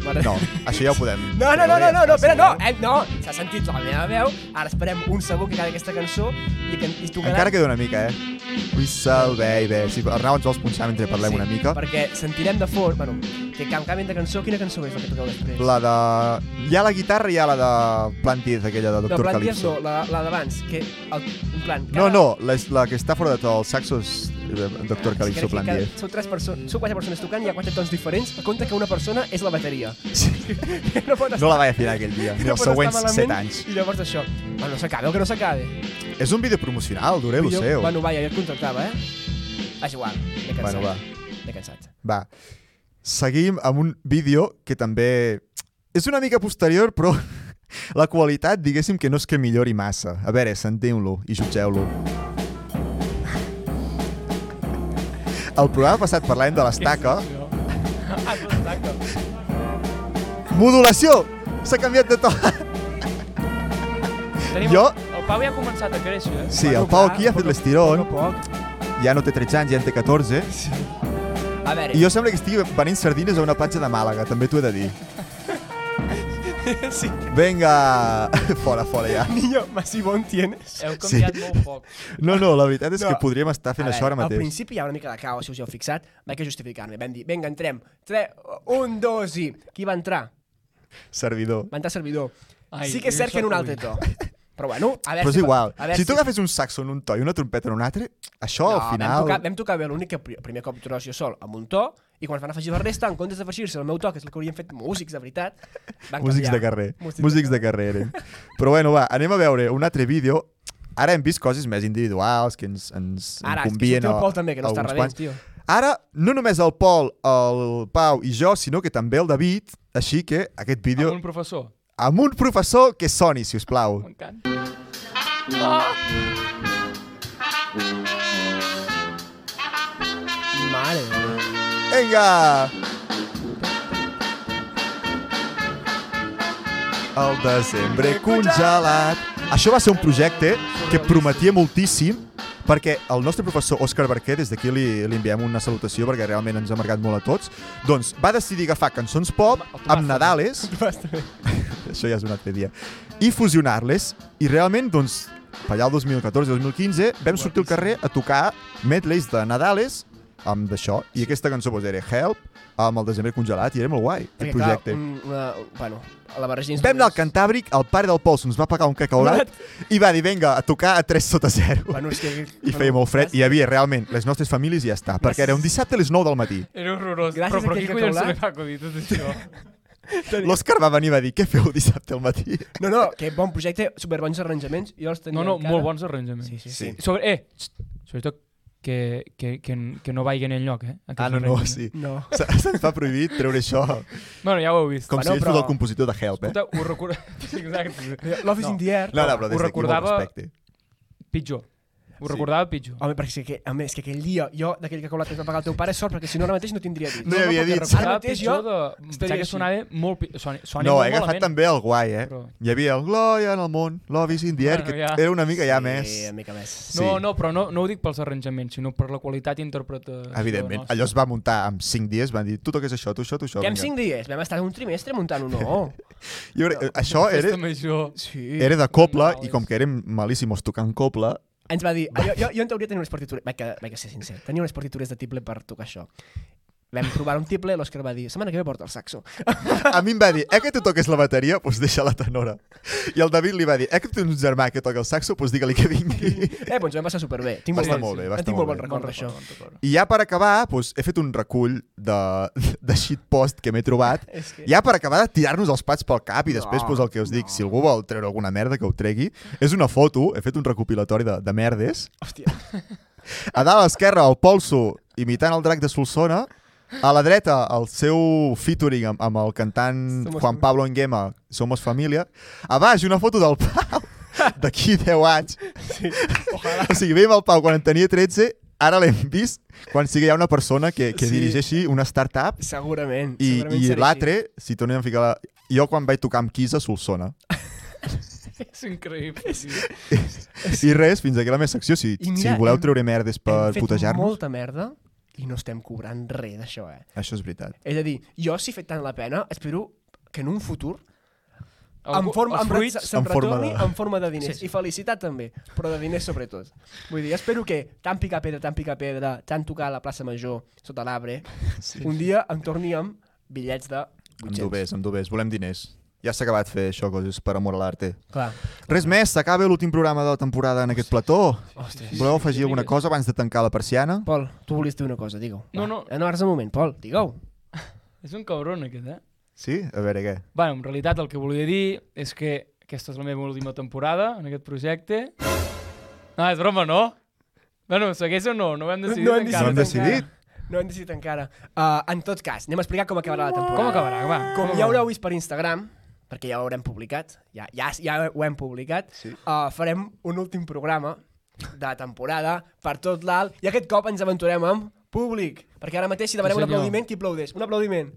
Speaker 3: M'agrada-
Speaker 1: No, això ja ho podem...
Speaker 3: No, no, no, no, no, no, espera, no, eh, no, s'ha sentit la meva veu, ara esperem un segon que acabi aquesta cançó i, que, i tocarà...
Speaker 1: Encara queda una mica, eh? Whistle, baby. Si Arnau ens vols punxar mentre parlem una mica.
Speaker 3: Perquè sentirem de fort... Bueno, que can canvi de cançó, quina cançó és la que toqueu després?
Speaker 1: La de... Hi ha la guitarra i hi ha la de Plantis, aquella de
Speaker 3: no,
Speaker 1: Doctor
Speaker 3: Planties
Speaker 1: Calypso.
Speaker 3: no, la, la d'abans, que... El, en plan,
Speaker 1: No, no, la, la que està fora de tot, el saxo és eh, Doctor
Speaker 3: Sí,
Speaker 1: Calypso
Speaker 3: crec que
Speaker 1: Plantier.
Speaker 3: cada- Sou, tres persones, sou quatre persones tocant, hi ha quatre tons diferents. Compte que una persona és la bateria. (laughs) no pot
Speaker 1: No la vaig afinar aquell dia, ni
Speaker 3: (laughs) no
Speaker 1: els
Speaker 3: pot estar
Speaker 1: següents
Speaker 3: malament,
Speaker 1: 7 anys.
Speaker 3: I llavors això, bueno, no s'acabe, o que no s'acabe.
Speaker 1: És un vídeo promocional, duré Eh, lo
Speaker 3: Jo-
Speaker 1: seu.
Speaker 3: Bueno, vaja, jo el contractava, eh? És igual, m'he cansat.
Speaker 1: Bueno, va.
Speaker 3: M'he cansat.
Speaker 1: Va, seguim amb un vídeo que també és una mica posterior, però (laughs) la qualitat, diguéssim, que no és que millori massa. A veure, sentim-lo i jutgeu-lo. El programa passat parlàvem de l'estaca. Modulació! S'ha canviat
Speaker 3: (laughs)
Speaker 1: de to.
Speaker 2: Tenim
Speaker 1: Jo-
Speaker 2: El, el Pau ja ha començat a créixer, eh?
Speaker 1: Sí,
Speaker 3: Bueno,
Speaker 1: el Pau
Speaker 3: va,
Speaker 1: aquí ha fet
Speaker 3: poc a-
Speaker 1: l'estirón.
Speaker 3: poc a poc.
Speaker 1: Ja no té 13 anys, ja en té 14.
Speaker 3: A veure,
Speaker 1: I jo sembla que estigui venint sardines a una platja de Màlaga, també t'ho he de dir.
Speaker 3: (laughs) sí,
Speaker 1: Vinga! (laughs) Fora, fora ja.
Speaker 3: niño, más si bon tienes.
Speaker 2: Heu canviat
Speaker 1: Sí. (laughs)
Speaker 2: molt poc.
Speaker 1: No, no, la veritat és
Speaker 3: No.
Speaker 1: no. que podríem estar fent
Speaker 3: A
Speaker 1: això ara
Speaker 3: veure, Al
Speaker 1: mateix.
Speaker 3: principi hi ha una mica de caos, si us hi heu fixat. Vaig a justificar-me. Vam dir, vinga, entrem. 3, 1, 2 i... Qui va entrar?
Speaker 1: Servidor.
Speaker 3: Va entrar servidor.
Speaker 2: Ai,
Speaker 3: Ai, sí que és cert
Speaker 2: això-
Speaker 3: que en un
Speaker 2: ui.
Speaker 3: altre to. Però bueno, a veure...
Speaker 1: Però és
Speaker 3: si-
Speaker 1: igual.
Speaker 3: a veure
Speaker 1: Si tu agafes un saxo en un to i una trompeta en un altre, això
Speaker 3: no,
Speaker 1: al
Speaker 3: Vam
Speaker 1: final...
Speaker 3: tocar, vam tocar bé l'únic que pri- primer cop tros jo sol amb un to i quan es van afegir la resta, en comptes d'afegir-se el meu to, que és el que haurien fet músics de veritat, van
Speaker 1: Músics de
Speaker 3: canviar.
Speaker 1: carrer. Músics de carrer. eren. Però bueno, va, anem a veure un altre vídeo. Ara hem vist coses més individuals que ens, ens
Speaker 3: Ara, és que
Speaker 1: convien
Speaker 3: sortia
Speaker 1: a-
Speaker 3: el Pol també, que
Speaker 1: a
Speaker 3: no està
Speaker 1: uns
Speaker 3: rebent,
Speaker 1: quants.
Speaker 3: tio.
Speaker 1: Ara, no només el Pol, el Pau i jo, sinó que també el David, així que aquest vídeo
Speaker 2: Amb un professor.
Speaker 1: amb un professor que soni, si us plau.
Speaker 2: M'encanta.
Speaker 3: Mare. de Déu.
Speaker 1: Vinga! El desembre congelat. Això va ser un projecte que prometia moltíssim perquè el nostre professor Òscar Barquer, des d'aquí li, li enviem una salutació perquè realment ens ha marcat molt a tots, doncs va decidir agafar cançons pop amb Nadales, (laughs) això ja és un altre dia, i fusionar-les i realment, doncs, per allà el 2014-2015 vam sortir al carrer a tocar medleys de Nadales amb d'això, i aquesta cançó doncs, era Help, amb el desembre congelat, i era molt guai, el
Speaker 3: Perquè,
Speaker 1: projecte.
Speaker 3: Clar, un, una, bueno, a la barreja
Speaker 1: Vam anar al
Speaker 3: d'instruments-
Speaker 1: Cantàbric, el pare del Pol se'ns va pagar un cacaulat i va dir, vinga, a tocar a 3 sota 0.
Speaker 3: Bueno, és que...
Speaker 1: I feia molt fred, i hi havia realment les nostres famílies i ja està, perquè era un dissabte a les 9 del matí.
Speaker 2: Era horrorós.
Speaker 3: Gràcies a
Speaker 2: però, però
Speaker 3: aquell
Speaker 2: qui
Speaker 3: que
Speaker 2: collons se
Speaker 3: caulà.
Speaker 2: li va acudir tot això?
Speaker 3: (laughs)
Speaker 1: L'Òscar va venir i va dir, què feu dissabte al matí?
Speaker 3: No, no, que bon projecte, superbons arranjaments. Jo els tenia
Speaker 2: No, no,
Speaker 3: encara.
Speaker 2: molt bons arranjaments.
Speaker 3: Sí, sí,
Speaker 1: Sí.
Speaker 3: sí.
Speaker 2: Sobre, eh, xt, sobretot que, que, que, n- que no vagin enlloc, eh? aquests
Speaker 1: Ah, no, no,
Speaker 2: arranjaments.
Speaker 1: sí.
Speaker 3: No.
Speaker 1: Se- Se'ns va prohibir treure això,
Speaker 2: Bueno, ja ho heu vist.
Speaker 1: com si
Speaker 3: Bueno,
Speaker 1: ell
Speaker 3: però-
Speaker 1: fos el compositor de Help, eh?
Speaker 2: Escolta, ho recordo... (laughs) Sí, exacte.
Speaker 3: L'Office no.
Speaker 2: No.
Speaker 3: in the Air.
Speaker 1: No, no, però des
Speaker 2: Ho
Speaker 1: d'aquí molt
Speaker 2: recordava-
Speaker 1: respecte.
Speaker 2: Pitjor. Ho
Speaker 1: Sí.
Speaker 2: recordava pitjor.
Speaker 3: Home, perquè és que, a més, que aquell dia jo, d'aquell que colat que es va pagar el teu pare, sort, perquè si no ara mateix no tindria dit.
Speaker 1: No hi havia
Speaker 3: perquè
Speaker 1: dit.
Speaker 3: Ara
Speaker 2: Ara
Speaker 3: mateix
Speaker 2: pitjor
Speaker 3: jo...
Speaker 2: de...
Speaker 3: estaria
Speaker 2: Pensava que
Speaker 3: així.
Speaker 2: sonava molt... pi- Soni, soni
Speaker 1: No, he
Speaker 2: molt
Speaker 1: agafat
Speaker 2: malament.
Speaker 1: també el guai, eh?
Speaker 2: Però-
Speaker 1: Hi havia el Glòria en el món, l'Ovis in the air,
Speaker 2: Bueno,
Speaker 1: que
Speaker 2: ja.
Speaker 1: era una mica ja
Speaker 3: Sí,
Speaker 1: més...
Speaker 3: una mica més.
Speaker 1: Sí.
Speaker 2: No, no, però no, no ho dic pels arranjaments, sinó per la qualitat i interpretació.
Speaker 1: Evidentment,
Speaker 2: nostra.
Speaker 1: allò es va muntar en 5 dies, van dir, tu toques això, tu això, tu això.
Speaker 3: Que en
Speaker 1: vinga.
Speaker 3: 5 dies vam estar un trimestre muntant un no.
Speaker 1: (laughs) Jo crec, eh, això era,
Speaker 2: Festa major.
Speaker 3: Sí.
Speaker 1: era de coble
Speaker 2: No,
Speaker 1: i com
Speaker 2: és-
Speaker 1: que érem malíssimos tocant coble,
Speaker 3: Ens va dir... "Ah, Jo, jo, jo en teoria tenia unes partitures... Vaig, que- vaig ser sincer. Tenia unes partitures de tiple per tocar això. Vam provar un tiple, l'Òscar va dir, setmana que ve porta el saxo.
Speaker 1: a mi em va dir, eh que tu toques la bateria, doncs deixa la tenora. I el David li va dir, eh que tu tens un germà que toca el saxo, doncs digue-li que vingui.
Speaker 3: Eh, doncs ho vam passar superbé. Tinc
Speaker 1: Va
Speaker 3: molt,
Speaker 1: estar
Speaker 3: bon-
Speaker 1: molt bé, va
Speaker 3: en
Speaker 1: estar
Speaker 3: tinc molt
Speaker 1: molt
Speaker 3: bon
Speaker 1: bé.
Speaker 3: record d'això.
Speaker 1: I ja per acabar, doncs, he fet un recull de, de shitpost que m'he trobat.
Speaker 3: És que-
Speaker 1: Ja per acabar de tirar-nos els pats pel cap i després
Speaker 3: No,
Speaker 1: doncs, el que us dic, si algú vol treure alguna merda que ho tregui, és una foto, he fet un recopilatori de, de merdes.
Speaker 3: Hòstia.
Speaker 1: A dalt a l'esquerra, el Polso imitant el drac de Solsona. A la dreta, el seu featuring amb, amb el cantant
Speaker 3: Somos
Speaker 1: Juan
Speaker 3: fam-
Speaker 1: Pablo Enguema, Somos Família. A baix, una foto del Pau (laughs) d'aquí 10 anys. (laughs) O sigui, veiem el Pau quan en tenia 13, ara l'hem vist quan sigui ja una persona que, que
Speaker 3: Sí.
Speaker 1: dirigeixi una startup
Speaker 3: Segurament.
Speaker 1: i,
Speaker 3: segurament
Speaker 1: i
Speaker 3: seré
Speaker 1: l'altre, si tornem a ficar la... Jo quan vaig tocar amb Kiss a Solsona.
Speaker 2: És increïble. tio.
Speaker 1: I res, fins aquí la meva secció. Si,
Speaker 3: I mira,
Speaker 1: si voleu
Speaker 3: hem-
Speaker 1: treure merdes per
Speaker 3: Hem fet
Speaker 1: putejar-nos,
Speaker 3: molta merda i no estem cobrant res d'això, eh?
Speaker 1: això és veritat.
Speaker 3: És a dir, jo si he fet tant la pena, espero que en un futur en forma,
Speaker 2: els
Speaker 3: en,
Speaker 2: fruits,
Speaker 3: fruits, se'n
Speaker 1: En forma
Speaker 3: retorni
Speaker 1: de-
Speaker 3: en forma de diners.
Speaker 2: Sí, sí.
Speaker 3: I felicitat també, però de diners sobretot. Vull dir, espero que tant picar pedra, tant picar pedra, tant tocar a la plaça Major
Speaker 1: (laughs)
Speaker 3: sota l'arbre, sí, un dia em torni amb bitllets de
Speaker 1: Amb
Speaker 3: 800.
Speaker 1: dubers, amb dubers. Volem diners. Ja s'ha acabat fer això, coses per amor a l'arte.
Speaker 3: Clar.
Speaker 1: Res més, s'acaba l'últim programa de la temporada en aquest plató. Voleu afegir alguna cosa abans de tancar la persiana?
Speaker 3: Pol, tu volies dir una cosa, digue-ho.
Speaker 2: No,
Speaker 3: Va.
Speaker 2: no.
Speaker 3: Eh, No, ara és el moment, Pol, digue-ho.
Speaker 2: És un cabron aquest, eh?
Speaker 1: Sí? A veure què.
Speaker 2: Bueno, en realitat el que volia dir és que aquesta és la meva última temporada en aquest projecte. No, és broma, no? Bueno, segueix o no? No ho hem decidit
Speaker 3: hem
Speaker 2: encara.
Speaker 1: No hem decidit.
Speaker 3: encara. No hem decidit encara. Uh, en tot cas, anem a explicar com acabarà la temporada.
Speaker 2: Com acabarà? Va,
Speaker 3: Com
Speaker 2: com
Speaker 3: ja
Speaker 2: acabarà?
Speaker 3: haureu vist per Instagram, perquè ja ho haurem publicat, ja, ja, ja ho hem publicat, sí. uh, farem un últim programa de temporada per tot l'alt i aquest cop ens aventurem amb públic, perquè ara mateix si demanem
Speaker 2: Sí,
Speaker 3: sí, un
Speaker 2: senyor.
Speaker 3: aplaudiment, qui aplaudeix? Un aplaudiment.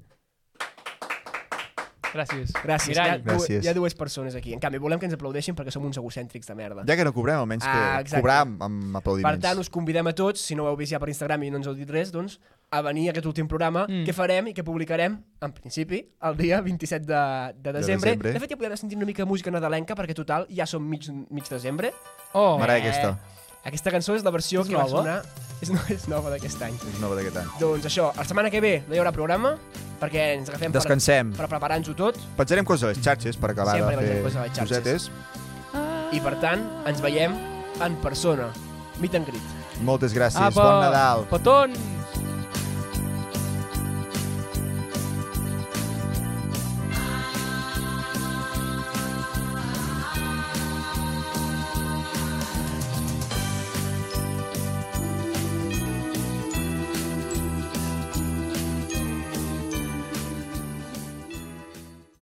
Speaker 2: Gràcies.
Speaker 3: Gràcies. Hi ha,
Speaker 2: Mirall.
Speaker 3: du-
Speaker 1: Gràcies.
Speaker 3: hi ha dues persones aquí. En canvi, volem que ens aplaudeixin perquè som uns egocèntrics de merda.
Speaker 1: Ja que no cobrem, almenys que
Speaker 3: Ah, exacte.
Speaker 1: cobrar amb, amb
Speaker 3: Per
Speaker 1: aplaudiments.
Speaker 3: tant, us convidem a tots, si no ho heu vist ja per Instagram i no ens heu dit res, doncs, a venir a aquest últim programa
Speaker 2: Mm.
Speaker 3: mm. que farem i que publicarem, en principi, el dia 27 de, de desembre.
Speaker 1: desembre.
Speaker 3: De fet, ja podem sentir una mica de música nadalenca, perquè total, ja som mig, mig desembre. Eh,
Speaker 2: Oh,
Speaker 1: Mare aquesta,
Speaker 3: Aquesta cançó és la versió
Speaker 2: És
Speaker 3: que va
Speaker 2: nova?
Speaker 3: sonar... És, no, és nova d'aquest any.
Speaker 1: és nova d'aquest any.
Speaker 3: Doncs això, la setmana que ve no hi haurà programa, perquè ens agafem
Speaker 1: Descansem.
Speaker 3: per, per preparar-nos-ho tot,
Speaker 1: Penjarem coses a les xarxes per acabar
Speaker 3: Sempre
Speaker 1: de
Speaker 3: pengem
Speaker 1: fer
Speaker 3: coses a les xarxes.
Speaker 1: cosetes.
Speaker 3: i per tant, ens veiem en persona. Meet and greet.
Speaker 1: Moltes gràcies.
Speaker 2: apa,
Speaker 1: Bon Nadal.
Speaker 2: Petons!